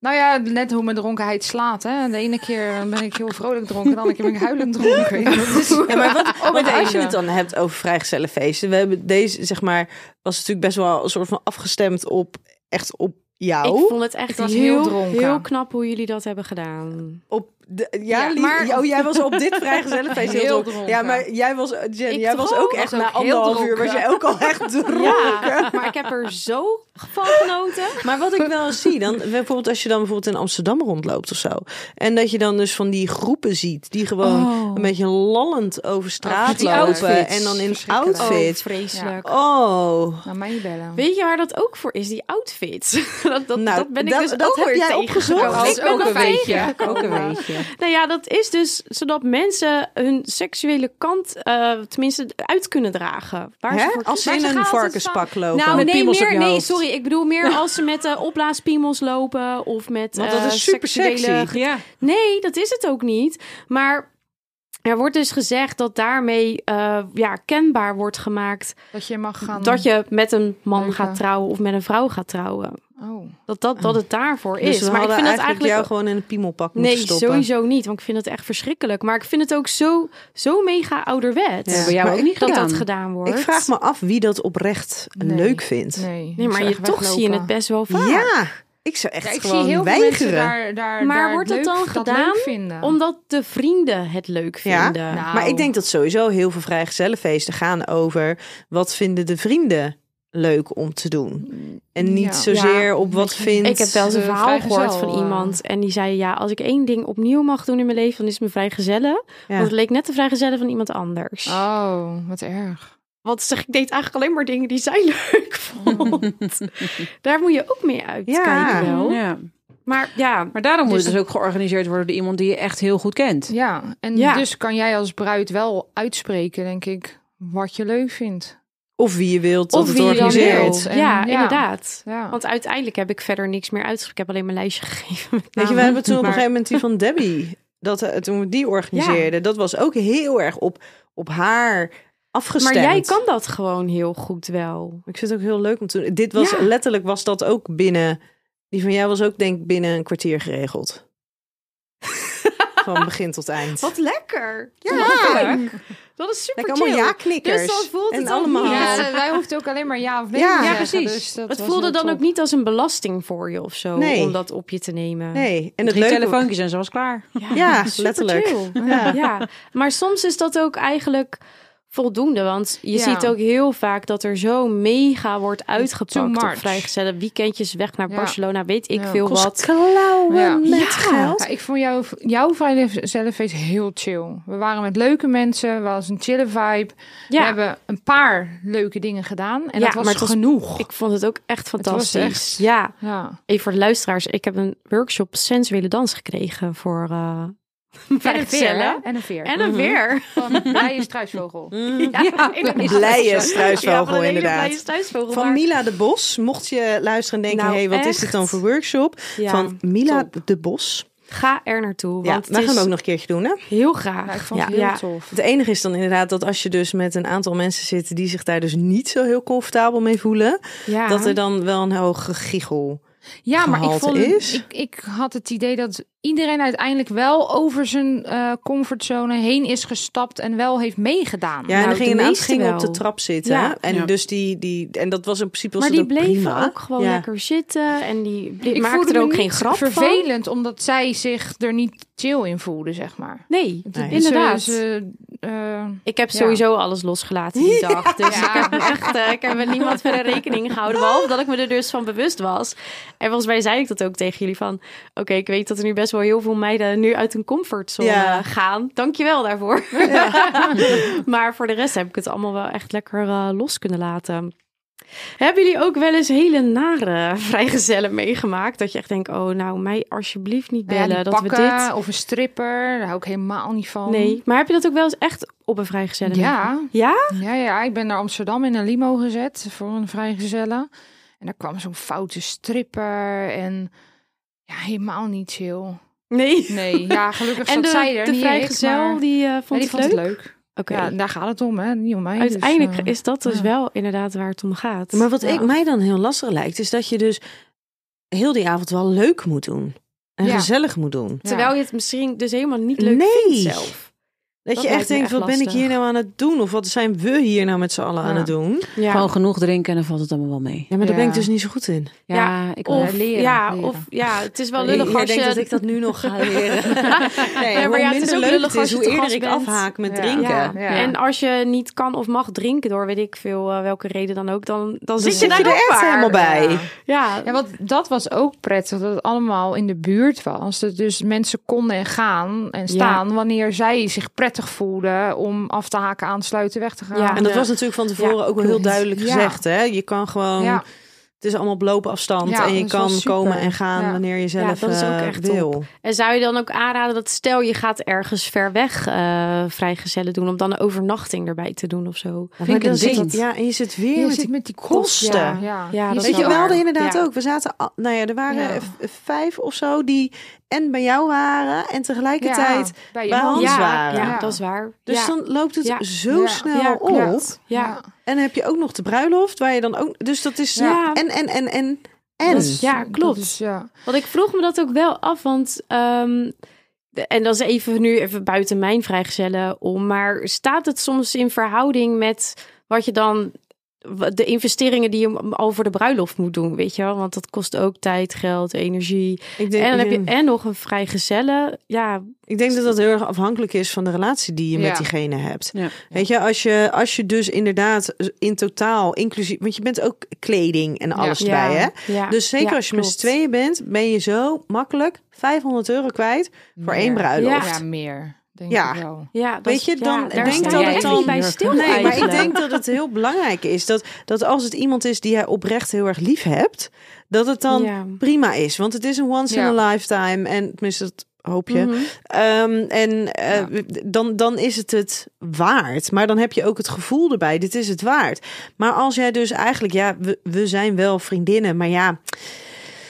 S3: Nou ja, net hoe mijn dronkenheid slaat. Hè. De ene keer ben ik heel vrolijk dronken, de andere keer ben ik huilend dronken. Ja, dat is-
S4: Ja, maar oh, wat, want als je
S3: einde.
S4: het dan hebt over vrijgezellenfeesten. We hebben deze, zeg maar, was natuurlijk best wel een soort van afgestemd op, echt op jou.
S2: Ik vond Oh, het echt
S3: Ik was
S2: heel,
S3: heel
S2: heel,
S3: dronken.
S2: knap hoe jullie dat hebben gedaan.
S4: Op de, ja,
S3: Ja,
S4: lief-
S3: maar-
S4: oh, jij was op dit vrijgezellenfeest heel,
S3: Heel
S4: dronken.
S3: dronken.
S4: Ja, maar jij was, Jen,
S2: Ik
S4: jij
S2: toch
S4: was ook
S2: ook?
S4: echt
S3: Was
S4: na
S3: ook heel
S4: anderhalf uur, was
S3: dronken.
S4: jij ook al echt dronken.
S2: Ja, maar ik heb er zo van genoten.
S4: Maar wat ik wel eens zie, dan bijvoorbeeld als je dan bijvoorbeeld in Amsterdam rondloopt of zo. En dat je dan dus van die groepen ziet die gewoon
S3: Oh.
S4: een beetje lallend over
S3: met
S4: straat
S3: die
S4: lopen.
S3: outfits.
S4: En dan in
S3: Verschrikkelijk.
S4: outfits.
S2: Oh, vreselijk.
S4: Oh.
S3: Nou, mij niet bellen.
S2: Weet je waar dat ook voor is? Die outfits. Dat, dat,
S4: Nou,
S2: dat ben ik
S4: dat-
S2: dus
S4: dat
S2: ook
S4: heb
S2: weer
S4: jij
S2: tegengekomen.
S4: opgezocht?
S2: Ik ben
S5: ook
S2: dat
S5: een beetje.
S2: tegengekomen.
S5: Ook een beetje.
S2: Nou ja, dat is dus zodat mensen hun seksuele kant eh, tenminste uit kunnen dragen. Waar ze
S4: Hè?
S2: voor
S4: Als ze
S2: kiezen.
S4: in
S3: Maar ze
S4: een
S3: gaan altijd
S4: varkenspak lopen.
S2: Nou,
S5: Met
S2: nee,
S5: piemels op
S2: meer,
S5: je
S2: nee,
S5: hoofd.
S2: sorry. Ik bedoel meer als ze met eh opblaaspiemels lopen of met
S4: Want dat
S2: eh,
S4: is super
S2: seksuele
S4: sexy.
S5: Ja.
S2: Nee, dat is het ook niet. Maar er wordt dus gezegd dat daarmee eh, ja, kenbaar wordt gemaakt
S3: Dat je mag gaan...
S2: dat je met een man
S3: Leuke.
S2: gaat trouwen of met een vrouw gaat trouwen.
S3: Oh.
S2: Dat, dat, dat het daarvoor
S4: Dus
S2: is.
S4: we
S2: Maar ik
S4: hadden
S2: vind dat
S4: eigenlijk jou
S2: eigenlijk.
S4: gewoon in een piemelpak
S2: Nee,
S4: moeten stoppen.
S2: sowieso niet. Want ik vind het echt verschrikkelijk. Maar ik vind het ook zo, zo mega ouderwet.
S4: Ja.
S5: Hebben jou
S4: Maar
S5: ook
S4: ik-
S5: niet
S2: Dat
S5: gedaan.
S2: dat gedaan wordt.
S4: Ik vraag me af wie dat oprecht
S3: Nee.
S4: leuk vindt.
S3: Nee.
S2: Nee,
S3: ik
S2: maar
S3: zou
S2: je,
S3: echt
S2: toch zie je
S3: weglopen.
S2: het best wel vaak.
S4: Ja, ik zou echt
S3: Ja, ik zie
S4: gewoon
S3: heel veel mensen
S4: weigeren.
S3: daar, daar,
S2: Maar
S3: daar
S2: wordt dat
S3: leuk-
S2: dan gedaan?
S3: leuk vinden.
S2: Omdat de vrienden het leuk
S4: Ja?
S2: vinden.
S3: Nou,
S4: Maar ik denk dat sowieso heel veel vrijgezellenfeesten gaan over wat vinden de vrienden leuk om te doen. En niet
S3: Ja.
S4: zozeer
S3: Ja,
S4: op wat
S3: weet je.
S4: vindt...
S2: Ik heb wel eens een
S3: eh,
S2: verhaal gehoord
S3: vrijgezel,
S2: van
S3: eh.
S2: iemand. En die zei: Ja, als ik één ding opnieuw mag doen in mijn leven, dan is het mijn vrijgezellen. Want het leek net de vrijgezellen van iemand anders.
S3: Oh, wat erg.
S2: Want zeg, ik deed eigenlijk alleen maar dingen die zij leuk vond. Daar moet je ook mee uitkijken.
S4: Ja.
S2: Wel.
S5: Ja.
S2: Maar ja,
S5: Maar daarom moet
S3: Dus-
S5: het dus ook georganiseerd worden door iemand die je echt heel goed kent.
S3: Ja, en
S2: Ja.
S3: dus kan jij als bruid wel uitspreken, denk ik, wat je leuk vindt.
S4: Of wie je wilt dat
S2: of
S4: het
S2: wie je dan
S4: organiseert.
S2: wil.
S3: En
S2: Ja,
S3: ja.
S2: inderdaad.
S3: Ja.
S2: Want uiteindelijk heb ik verder niks meer uitgesproken. Ik heb alleen mijn lijstje gegeven. met
S4: Weet je, we
S2: namen.
S4: hebben toen
S2: Nou,
S4: op een
S2: Maar-
S4: gegeven moment die van Debbie, dat, eh, toen we die organiseerden, dat was ook heel erg op, op haar afgestemd.
S2: Maar jij kan dat gewoon heel goed wel.
S4: Ik vind het ook heel leuk om te doen. Dit was,
S2: Ja.
S4: letterlijk was dat ook binnen, die van jou was ook denk ik binnen een kwartier geregeld. van begin tot eind.
S2: lekker. Ja, dat is super
S4: Lekker allemaal ja-knikkers.
S2: Dus dan voelt
S4: en
S2: het ook
S4: allemaal.
S2: niet.
S3: Ja, ze- wij hoefden ook alleen maar ja of nee
S4: Ja.
S3: te
S4: Ja,
S3: zeggen,
S5: precies.
S3: dus dat
S2: Het
S3: was
S2: voelde
S3: heel
S2: dan
S3: top.
S2: ook niet als een belasting voor je of zo
S4: Nee.
S2: om dat op je te nemen.
S4: Nee, en het
S5: Drie
S4: leuke...
S5: telefoontjes en ze was klaar.
S4: Ja,
S2: super
S4: letterlijk.
S2: chill.
S4: Ja.
S2: Ja. maar soms is dat ook eigenlijk voldoende, want je
S3: Ja.
S2: ziet ook heel vaak dat er zo mega wordt
S3: Too
S2: uitgepakt
S3: much.
S2: op vrijgezellen weekendjes weg naar
S3: Ja.
S2: Barcelona, weet ik
S3: Ja.
S2: veel
S4: Kost
S2: wat.
S4: klauwen
S3: Ja.
S4: met
S2: Ja.
S4: geld.
S3: Ja, ik vond jouw, jouw vrijgezellenfeest heel chill. We waren met leuke mensen, we was een chille vibe.
S2: Ja,
S3: We hebben een paar leuke dingen gedaan en
S2: Ja,
S3: dat was
S2: maar het was-
S3: genoeg.
S2: ik vond het ook echt
S3: was
S2: fantastisch.
S3: echt-
S2: Ja,
S3: Ja.
S2: even voor de luisteraars, ik heb een workshop sensuele dans gekregen voor eh Mhm.
S3: En een veer, hè?
S2: vrijgezellen.
S3: En een veer.
S2: En een weer.
S3: Van blije struisvogel.
S2: Ja, inderdaad.
S4: Blije
S2: Ja,
S4: struisvogel,
S2: van een hele
S4: inderdaad.
S2: blije struisvogel,
S4: Van
S2: maar-
S4: Mila de Bos. Mocht je luisteren en denken,
S2: Nou,
S4: hey, wat is
S2: echt?
S4: dit dan voor workshop?
S2: Ja,
S4: van Mila de Bos.
S2: Ga er naartoe,
S4: Ja,
S2: want
S4: dat gaan
S2: het
S4: we
S2: is
S4: ook nog een keertje doen, hè?
S2: heel graag.
S3: Nou, ik vond het
S2: ja.
S3: heel
S2: Ja.
S3: tof.
S4: Het enige is dan inderdaad dat als je dus met een aantal mensen zit... die zich daar dus niet zo heel comfortabel mee voelen...
S2: Ja.
S4: dat er dan wel een hoog gegichel...
S3: Ja, maar ik,
S4: gehalte
S3: vond,
S4: is.
S3: Ik, ik had het idee dat iedereen uiteindelijk wel over zijn eh, comfortzone heen is gestapt en wel heeft meegedaan.
S4: Ja, en
S2: Nou,
S4: dan
S2: de
S4: ging een aantal
S2: meeste
S4: gingen op
S2: wel.
S4: de trap zitten.
S2: Ja.
S4: En
S5: Ja.
S4: dus die, die... En dat was in principe... Was
S2: maar
S4: dat
S2: die bleven
S4: prima.
S2: ook gewoon
S4: Ja.
S2: lekker zitten en die ble-
S3: Ik
S2: maakten
S3: voelde
S2: er
S3: me
S2: ook geen
S3: niet
S2: grap van.
S3: vervelend omdat zij zich er niet chill in voelde, zeg maar.
S2: Nee,
S4: Nee.
S2: inderdaad.
S3: Ze- ze, eh,
S2: ik heb
S3: Ja.
S2: sowieso alles losgelaten die dag. Dus
S3: Ja.
S2: ik heb me echt, eh, ik heb met niemand verder rekening gehouden. Behalve dat ik me er dus van bewust was. En volgens mij zei ik dat ook tegen jullie van... Oké, ik weet dat er nu best wel heel veel meiden nu uit hun comfortzone
S4: Ja.
S2: gaan. Dankjewel daarvoor. maar voor de rest heb ik het allemaal wel echt lekker eh, los kunnen laten. Hebben jullie ook wel eens hele nare vrijgezellen meegemaakt? Dat je echt denkt, oh nou, mij alsjeblieft niet
S3: Nou ja,
S2: bellen.
S3: die
S2: dat we
S3: pakken
S2: dit...
S3: Of een stripper, daar hou ik helemaal niet van.
S2: Nee, maar heb je dat ook wel eens echt op een vrijgezellen meegemaakt?
S3: Ja,
S2: Ja?
S3: ja, ja, ik ben naar Amsterdam in een limo gezet voor een vrijgezellen. En daar kwam zo'n foute stripper en ja, helemaal niet chill.
S2: Nee.
S3: Nee, ja, gelukkig
S2: En
S3: zat
S2: de,
S3: zij er
S2: de
S3: niet
S2: vrijgezel,
S3: ik, maar-
S2: die eh, vond,
S3: Ja, die
S2: het
S3: vond
S2: leuk?
S3: het leuk.
S2: Oké.
S3: Ja, daar gaat het om, hè? Niet om mij. dus,
S2: Uiteindelijk
S3: eh,
S2: is dat dus
S3: ja.
S2: wel inderdaad waar het om gaat.
S4: Maar wat
S3: Ja.
S4: ik mij dan heel lastig lijkt, is dat je dus heel die avond wel leuk moet doen. En
S3: Ja.
S4: gezellig moet doen.
S3: ja.
S2: Terwijl je het misschien dus helemaal niet leuk
S4: Nee.
S2: vindt zelf.
S4: Dat,
S2: Dat
S4: je
S2: lijkt
S4: echt
S2: me
S4: denkt,
S2: echt
S4: wat ben ik
S2: lastig.
S4: hier nou aan het doen? Of wat zijn we hier nou met z'n allen aan
S3: Ja.
S4: het doen?
S2: Ja.
S5: Gewoon genoeg drinken en dan valt het allemaal wel mee.
S4: Ja, maar daar ben ik
S3: Ja.
S4: dus niet zo goed in.
S5: Ja, ik wil
S2: of,
S5: leren.
S2: ja,
S3: leren.
S2: of ja, het is wel lullig als je...
S4: nu nog ga leren. nee,
S2: maar
S4: hoe
S2: ja, het is
S4: minder
S2: ook
S4: leuk
S2: lullig
S4: het
S2: als
S4: is,
S2: je
S4: hoe
S2: te
S4: eerder
S2: gast
S4: ik
S2: bent.
S4: afhaak met
S3: Ja.
S4: drinken.
S2: Ja.
S3: Ja.
S2: En als je niet kan of mag drinken door weet ik veel eh, welke reden dan ook, dan, dan zit je
S4: zit
S2: daar
S4: je er
S2: ook
S4: echt
S2: maar.
S4: helemaal bij.
S3: Ja.
S2: Ja,
S3: Ja, want dat was ook prettig, dat het allemaal in de buurt was. Dat dus mensen konden en gaan en staan wanneer zij zich prettig voelden om af te haken, aansluiten, weg te gaan.
S2: Ja.
S4: En dat
S2: Ja.
S4: was natuurlijk van tevoren ook wel heel
S3: klopt.
S4: duidelijk
S3: Ja.
S4: gezegd. Hè? Je kan gewoon,
S3: Ja.
S4: het is allemaal op loopafstand.
S3: Ja,
S4: en je
S3: dat is wel
S4: kan
S3: super.
S4: komen en gaan
S3: Ja.
S4: wanneer je zelf
S2: dat is ook
S4: eh,
S2: echt
S4: wil.
S2: En zou je dan ook aanraden dat stel je gaat ergens ver weg eh, vrijgezellen doen, om dan een overnachting erbij te doen of zo?
S4: Ja,
S5: Vind
S4: maar
S5: ik een
S4: dan zit
S5: ding.
S4: dat- Ja, en je zit weer
S3: Je
S4: met
S3: zit
S4: die-
S3: met die
S4: kosten.
S3: kosten. Ja,
S2: Ja, dat is
S4: Weet je,
S2: wel
S4: we
S2: waar.
S4: hadden inderdaad
S2: Ja.
S4: ook. We zaten, al- nou ja, er waren
S3: Ja.
S4: v- vijf of zo die en bij jou waren en tegelijkertijd.
S3: bij
S4: bij
S3: iemand.
S4: Hans
S2: ja,
S4: waren.
S2: ja, dat is waar.
S4: Dus
S2: ja.
S4: dan loopt het
S2: Ja.
S4: zo
S3: Ja.
S4: snel
S2: Ja,
S4: op.
S3: klopt.
S2: ja.
S4: En dan heb je ook nog de bruiloft, waar je dan ook. Dus dat is
S2: Ja.
S4: en en en en en.
S2: Dat is- ja,
S3: Dat
S2: klopt.
S3: is, ja.
S2: Want ik vroeg me dat ook wel af, want... ehm, de- en dat is even nu even buiten mijn vrijgezellen om. Maar staat het soms in verhouding met wat je dan... wa- De investeringen die je al voor de bruiloft moet doen, weet je wel? Want dat kost ook tijd, geld, energie.
S4: ik denk,
S2: En dan heb
S4: ja.
S2: je en nog een vrijgezellen. Ja,
S4: ik denk dat dat heel erg afhankelijk is van de relatie die je
S3: Ja.
S4: met diegene hebt.
S5: Ja.
S4: Weet je, als je, als je dus inderdaad in totaal, inclusief, want je bent ook kleding en alles
S2: ja,
S4: erbij, hè?
S2: ja,
S4: Dus zeker
S2: ja,
S4: als je met z'n
S2: klopt.
S4: tweeën bent, ben je zo makkelijk 500 euro kwijt voor
S3: Meer.
S4: één bruiloft.
S3: Ja, meer. Denk
S4: Ja.
S3: ik wel.
S2: Ja, dat,
S4: Weet je, dan
S2: ja, daar
S4: denk
S2: sta
S4: dat
S2: je
S4: het
S2: echt
S4: dan-
S2: niet bij stil
S4: Nee, maar ik
S2: eigenlijk.
S4: denk dat het heel belangrijk is dat, dat als het iemand is die jij oprecht heel erg lief hebt, dat het dan
S2: Ja.
S4: prima is. Want het is een once in a lifetime en tenminste, dat hoop je.
S2: Mhm.
S4: Ehm, en eh, dan, dan is het het waard. Maar dan heb je ook het gevoel erbij, dit is het waard. Maar als jij dus eigenlijk, ja, we, we zijn wel vriendinnen, maar ja,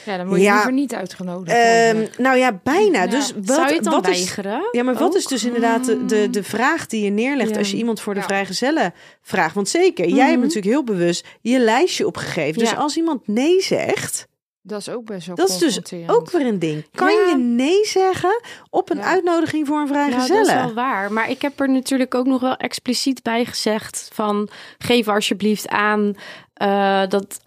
S3: Ja, dan word je
S4: Ja.
S3: liever niet uitgenodigd.
S4: ehm,
S3: worden.
S4: nou ja, bijna.
S3: Ja.
S4: Dus wat,
S2: Zou je het dan
S4: wat is
S2: weigeren?
S4: ja, maar wat
S2: ook?
S4: is dus inderdaad de, de, de vraag die je neerlegt
S2: Ja. Mhm.
S4: als je iemand voor de
S3: Ja.
S4: vrijgezellen vraagt? Want zeker, jij hebt natuurlijk heel bewust je lijstje opgegeven. Dus
S2: Ja.
S4: als iemand nee zegt,
S3: dat is ook best wel
S4: dat is dus
S3: confronterend.
S4: ook weer een ding. Kan
S2: Ja.
S4: je nee zeggen op een
S3: Ja.
S4: uitnodiging voor een
S2: Nou, dat is
S4: vrijgezellen?
S2: wel waar. Maar ik heb er natuurlijk ook nog wel expliciet bij gezegd van geef alsjeblieft aan eh, dat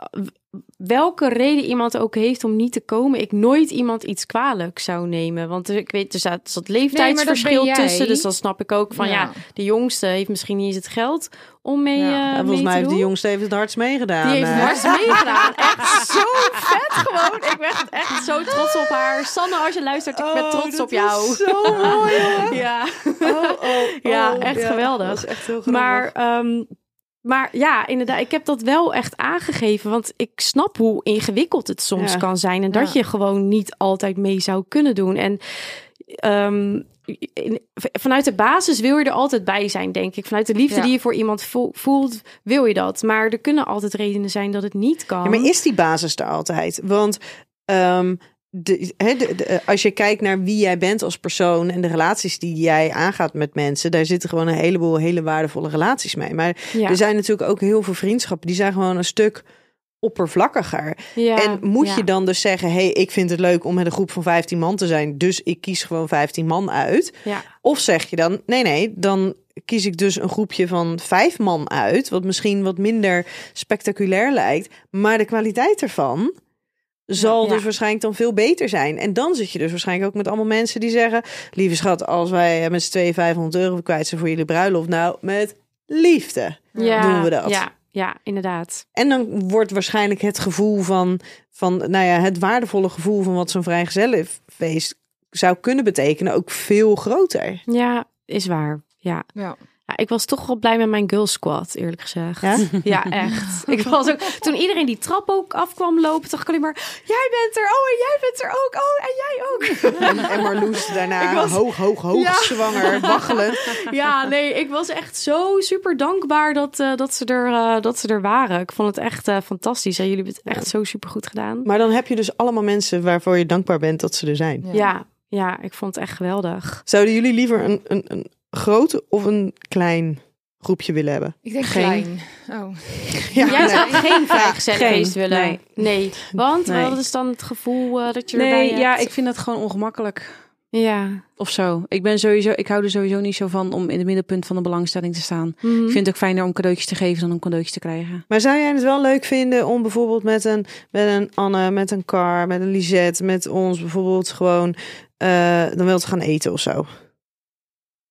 S2: welke reden iemand ook heeft om niet te komen, ik nooit iemand iets kwalijk zou nemen. Want er- ik weet, er zat, zat leeftijdsverschil
S3: jij.
S2: tussen, dus dan snap ik ook van ja.
S3: Ja.
S2: de jongste heeft misschien niet eens het geld om mee,
S3: Ja.
S2: eh,
S4: Ja,
S2: mee
S4: volgens mij
S2: te
S4: heeft de
S2: doen.
S4: jongste even het hardst meegedaan.
S2: Die heeft
S4: eh.
S2: Mars meegedaan. Echt zo vet gewoon. Ik ben echt- echt zo trots op haar. Sanne, als je luistert, ik ben
S4: Oh,
S2: trots
S4: dat
S2: op
S4: is
S2: jou.
S4: Zo mooi.
S2: Ja,
S4: Oh, oh, oh.
S2: Ja, echt geweldig.
S4: Dat is echt heel grappig.
S2: maar, ehm, maar ja, inderdaad, ik heb dat wel echt aangegeven. Want ik snap hoe ingewikkeld het soms
S4: Ja.
S2: kan zijn. En dat
S3: Ja.
S2: je gewoon niet altijd mee zou kunnen doen. En ehm, in- v- vanuit de basis wil je er altijd bij zijn, denk ik. Vanuit de liefde
S3: Ja.
S2: die je voor iemand vo- voelt, wil je dat. Maar er kunnen altijd redenen zijn dat het niet kan.
S4: Ja, maar is die basis er altijd? Want ehm, de, hè, de- de, eh, als je kijkt naar wie jij bent als persoon en de relaties die jij aangaat met mensen, daar zitten gewoon een heleboel hele waardevolle relaties mee. Maar
S2: Ja.
S4: er zijn natuurlijk ook heel veel vriendschappen die zijn gewoon een stuk oppervlakkiger.
S2: Ja,
S4: en moet
S2: ja.
S4: je dan dus zeggen, hé, hey, ik vind het leuk om met een groep van 15 man te zijn, dus ik kies gewoon 15 man uit.
S2: Ja.
S4: Of zeg je dan, nee, nee, dan kies ik dus een groepje van vijf man uit, wat misschien wat minder spectaculair lijkt, maar de kwaliteit ervan zal
S2: Ja.
S4: dus waarschijnlijk dan veel beter zijn. En dan zit je dus waarschijnlijk ook met allemaal mensen die zeggen, lieve schat, als wij met z'n tweeën 500 euro kwijt zijn voor jullie bruiloft, nou, met liefde.
S2: ja,
S4: doen we dat.
S2: Ja, ja inderdaad.
S4: En dan wordt waarschijnlijk het gevoel van, van nou ja, het waardevolle gevoel van wat zo'n vrijgezellenfeest zou kunnen betekenen ook veel groter.
S2: Ja, is waar. Ja.
S3: Ja.
S2: Ja, ik was toch wel blij met mijn girl squad, eerlijk gezegd.
S4: Ja?
S2: echt. Ik was ook, toen iedereen die trap ook afkwam lopen, dacht ik alleen maar... Jij bent er, oh en jij bent er ook, oh en jij ook.
S4: En, en Marloes daarna
S2: Ik was-
S4: hoog, hoog, hoog,
S2: Ja.
S4: zwanger, waggelend.
S2: Ja, nee, ik was echt zo super dankbaar dat, eh, dat, ze, er, eh, dat ze er waren. Ik vond het echt eh, fantastisch en jullie hebben het echt zo super goed gedaan.
S4: Maar dan heb je dus allemaal mensen waarvoor je dankbaar bent dat ze er zijn.
S3: Ja.
S2: Ja, ja, ik vond het echt geweldig.
S4: Zouden jullie liever een, een, een groot of een klein groepje willen hebben?
S3: Ik denk
S4: Geen.
S3: klein. Oh.
S4: Ja,
S2: Jij zou geen vrijgezel
S5: geen.
S2: feest willen.
S5: Nee.
S2: Nee, want
S5: Nee.
S2: wat is dan het gevoel eh, dat je erbij
S5: Nee, ja,
S2: hebt?
S5: ik vind dat gewoon ongemakkelijk.
S2: Ja.
S5: Of zo. Ik ben sowieso, ik hou er sowieso niet zo van om in het middelpunt van de belangstelling te staan. Ik
S2: Mhm.
S5: vind het ook fijner om cadeautjes te geven dan om cadeautjes te krijgen.
S4: Maar zou jij het wel leuk vinden om bijvoorbeeld met een, met een Anne, met een Car, met een Lisette, met ons bijvoorbeeld gewoon eh, dan wilt gaan eten of zo?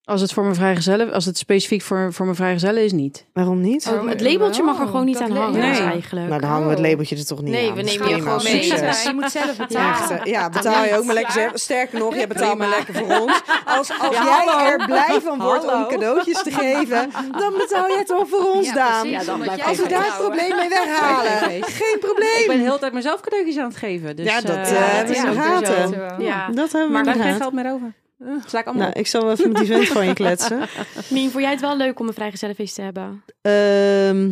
S5: Als het voor mijn vrijgezellen, als het specifiek voor, voor mijn vrijgezellen is, niet.
S4: Waarom niet?
S2: Oh, het labeltje mag er gewoon niet aan hangen dus
S5: Nee.
S2: eigenlijk.
S4: nou, dan hangen we het labeltje er toch niet
S2: Nee,
S4: aan.
S2: we
S4: Dat is
S2: nemen je
S4: prima.
S2: gewoon mee.
S4: Succes.
S2: Ja.
S3: Je moet zelf
S4: Ja,
S3: betalen.
S4: echt, eh, ja, betaal je ook maar lekker. zelf. Sterker nog, jij betaalt maar lekker voor ons. Als, als jij er blij van wordt om
S6: Hallo.
S4: cadeautjes te geven, dan betaal jij toch voor ons, Daan.
S2: Ja, dan blijft
S4: Als we daar het probleem mee weghalen, geen probleem.
S5: Ik ben de hele tijd mezelf cadeautjes aan het geven. Dus,
S4: Ja, dat, eh,
S5: eh, ja,
S4: het is
S5: ja,
S4: in de
S5: ook weer zo.
S4: gaten.
S2: Ja.
S4: Dat hebben we
S5: Maar daar
S4: inderdaad.
S5: heb geen geld meer over. Sla ik allemaal
S4: Nou, ik zal wel even met die vent van je kletsen.
S2: Mien, vond jij het wel leuk om een vrijgezellenfeest te hebben?
S4: Ehm,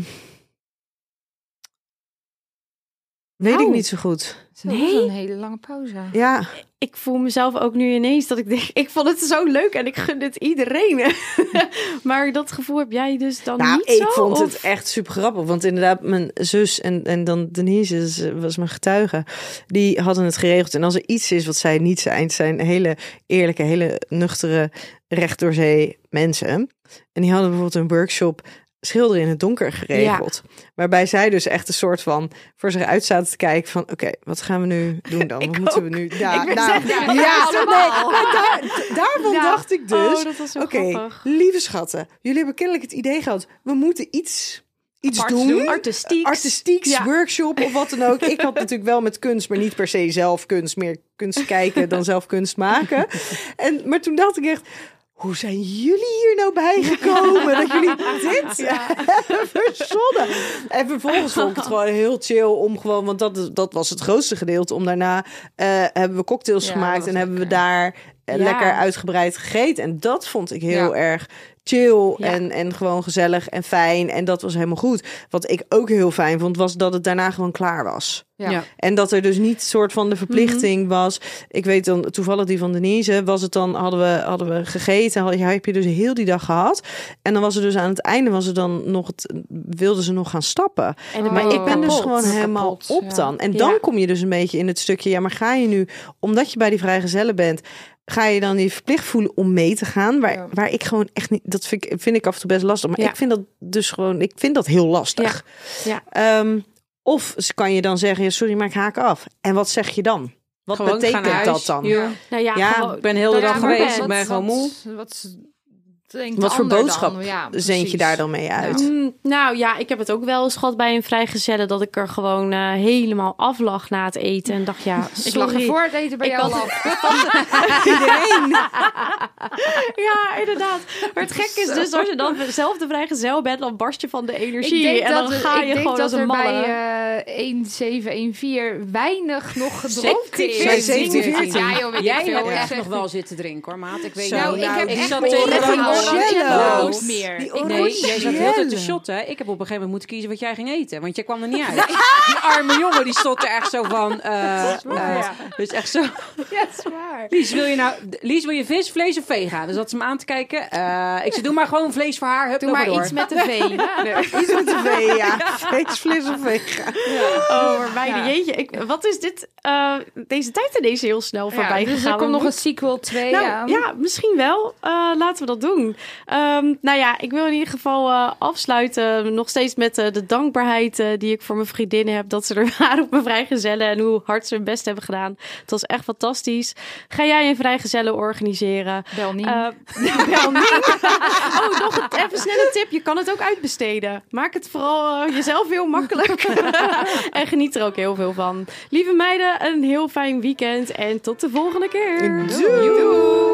S4: weet ik
S2: Au.
S4: niet zo goed.
S2: Nee?
S3: Nee? Een hele lange pauze.
S4: Ja,
S2: Ik voel mezelf ook nu ineens dat ik denk, ik vond het zo leuk en ik gun het iedereen. maar dat gevoel heb jij dus dan
S4: nou,
S2: niet
S4: ik
S2: zo?
S4: vond
S2: of-
S4: het echt super grappig. Want inderdaad, mijn zus en, en dan Denise is, eh, was mijn getuige. Die hadden het geregeld. En als er iets is wat zij niet zijn, het zijn hele eerlijke, hele nuchtere, recht door zee mensen. En die hadden bijvoorbeeld een workshop schilderen in het donker geregeld. Waarbij zij dus echt een soort van voor zich uit zaten te kijken van... oké, wat gaan we nu doen dan? Wat moeten we nu... Ja,
S2: Ik ben
S4: nou,
S2: zeggen,
S4: ja,
S2: allemaal.
S4: maar daar, daarvan
S2: Ja.
S4: dacht ik dus...
S2: Oh, dat was zo
S4: Oké,
S2: grappig.
S4: lieve schatten. Jullie hebben kennelijk het idee gehad. We moeten iets, iets
S3: Aparts
S4: doen.
S3: doen.
S2: Artistiek.
S4: Artistieks,
S2: Ja.
S4: workshop of wat dan ook. Ik had natuurlijk wel met kunst, maar niet per se zelf kunst. Meer kunst kijken dan zelf kunst maken. En, maar toen dacht ik echt... Hoe zijn jullie hier nou bij gekomen? Dat jullie dit hebben verzonnen. En vervolgens vond ik het gewoon heel chill om gewoon... Want dat, is- dat was het grootste gedeelte. Om daarna eh, hebben we cocktails
S3: Ja, dat
S4: gemaakt.
S3: was
S4: En hebben we
S3: lekker.
S4: daar eh,
S2: Ja.
S4: lekker uitgebreid gegeten. En dat vond ik heel erg chill en, en gewoon gezellig en fijn. En dat was helemaal goed. Wat ik ook heel fijn vond, was dat het daarna gewoon klaar was.
S3: Ja.
S5: Ja.
S4: En dat er dus niet soort van de verplichting was. Ik weet dan toevallig die van Denise. Was het dan, hadden we, hadden we gegeten. Had, ja, heb je dus heel die dag gehad. En dan was er dus aan het einde, was er dan nog het, wilden ze nog gaan stappen.
S2: En dan
S4: Maar
S2: ben je
S4: ik ben dus
S2: Oh, kapot.
S4: gewoon helemaal
S3: Kapot,
S4: op
S3: ja.
S4: dan. En dan
S2: Ja.
S4: kom je dus een beetje in het stukje. Ja, maar ga je nu, omdat je bij die vrijgezellen bent, ga je dan die verplicht voelen om mee te gaan? Waar,
S3: Ja.
S4: waar ik gewoon echt niet. Dat vind ik, vind ik af en toe best lastig. Maar
S2: Ja.
S4: ik vind dat dus gewoon. Ik vind dat heel lastig.
S2: Ja.
S4: Ehm, of ze kan je dan zeggen: ja, sorry, maar ik haak af. En wat zeg je dan? Wat
S5: Gewoon gaan naar
S4: betekent dat
S5: huis.
S4: dan?
S5: Ja.
S2: Nou ja,
S4: Ja,
S2: gewoon-
S5: Ik ben heel de
S2: Ja,
S5: dag
S2: maar
S5: geweest.
S2: wat-
S5: Ik ben gewoon moe.
S3: Wat, wat, denkt de
S4: Wat voor
S3: ander
S4: boodschap
S3: dan? Ja,
S4: Zend je
S3: precies.
S4: daar dan mee uit?
S3: Ja.
S2: Mm, nou ja, ik heb het ook wel eens gehad bij een vrijgezelle dat ik er gewoon eh, helemaal af lag na het eten. En dacht, ja, sorry.
S3: Ik lag er voor het eten bij
S2: Ik
S3: jou
S2: had-
S3: al af.
S2: Ja, inderdaad. Maar het gekke is dus, als je dan zelf de vrijgezel bent, dan barst je van de energie. en dan
S3: er-
S2: ga
S3: ik
S2: je
S3: denk
S2: gewoon
S3: dat
S2: als een
S3: er
S2: malle.
S3: bij eh 1714 weinig nog gedronken is.
S4: 17, 14.
S3: Ja, joh, weet ik
S5: Jij
S3: veel,
S5: hebt
S3: hoor.
S5: echt
S3: Zeg
S5: nog wel zitten drinken hoor, maat. Ik weet
S4: Zo,
S3: Nou,
S5: niet.
S3: ik heb
S5: ik
S3: echt
S5: zat
S3: nog
S5: tegen
S3: geen
S5: een
S4: orangello's.
S3: orangello's meer.
S4: Die
S3: Ik
S5: Nee,
S4: orangello's.
S5: jij zat heel tijd te shotten. Ik heb op een gegeven moment moeten kiezen wat jij ging eten. Want je kwam er niet uit. Die arme jongen die stond er echt zo van. eh, eh, Dus echt zo.
S3: Ja, dat is waar.
S5: Lies, wil je nou. Lies, wil je vis, vlees of vega? Dus dat ze me aan te kijken. Eh, ik zei, doe maar gewoon vlees voor haar. Hup,
S2: Doe
S5: loop
S2: maar
S5: door.
S2: iets met de veen.
S4: Iets met de vee, ja. Vlees of vega.
S2: Oh, maar mijn jeetje. Ik, wat is dit? eh, deze tijd ineens heel snel voorbij
S3: Ja, dus
S2: gegaan.
S3: er komt
S2: We
S3: nog een sequel 2
S2: Nou,
S3: aan.
S2: ja, misschien wel. Eh, laten we dat doen. Ehm, nou ja, ik wil in ieder geval eh, afsluiten. Nog steeds met eh, de dankbaarheid eh, die ik voor mijn vriendinnen heb. Dat ze er waren op mijn vrijgezellen. En hoe hard ze hun best hebben gedaan. Het was echt fantastisch. Ga jij een vrijgezellen organiseren?
S3: Bel niet.
S2: Eh, bel niet. oh, nog een, even snel een tip. Je kan het ook uitbesteden. Maak het vooral eh, jezelf heel makkelijk. en geniet er ook heel veel van. Lieve meiden, een heel fijn weekend. En tot de volgende keer.
S4: Doei.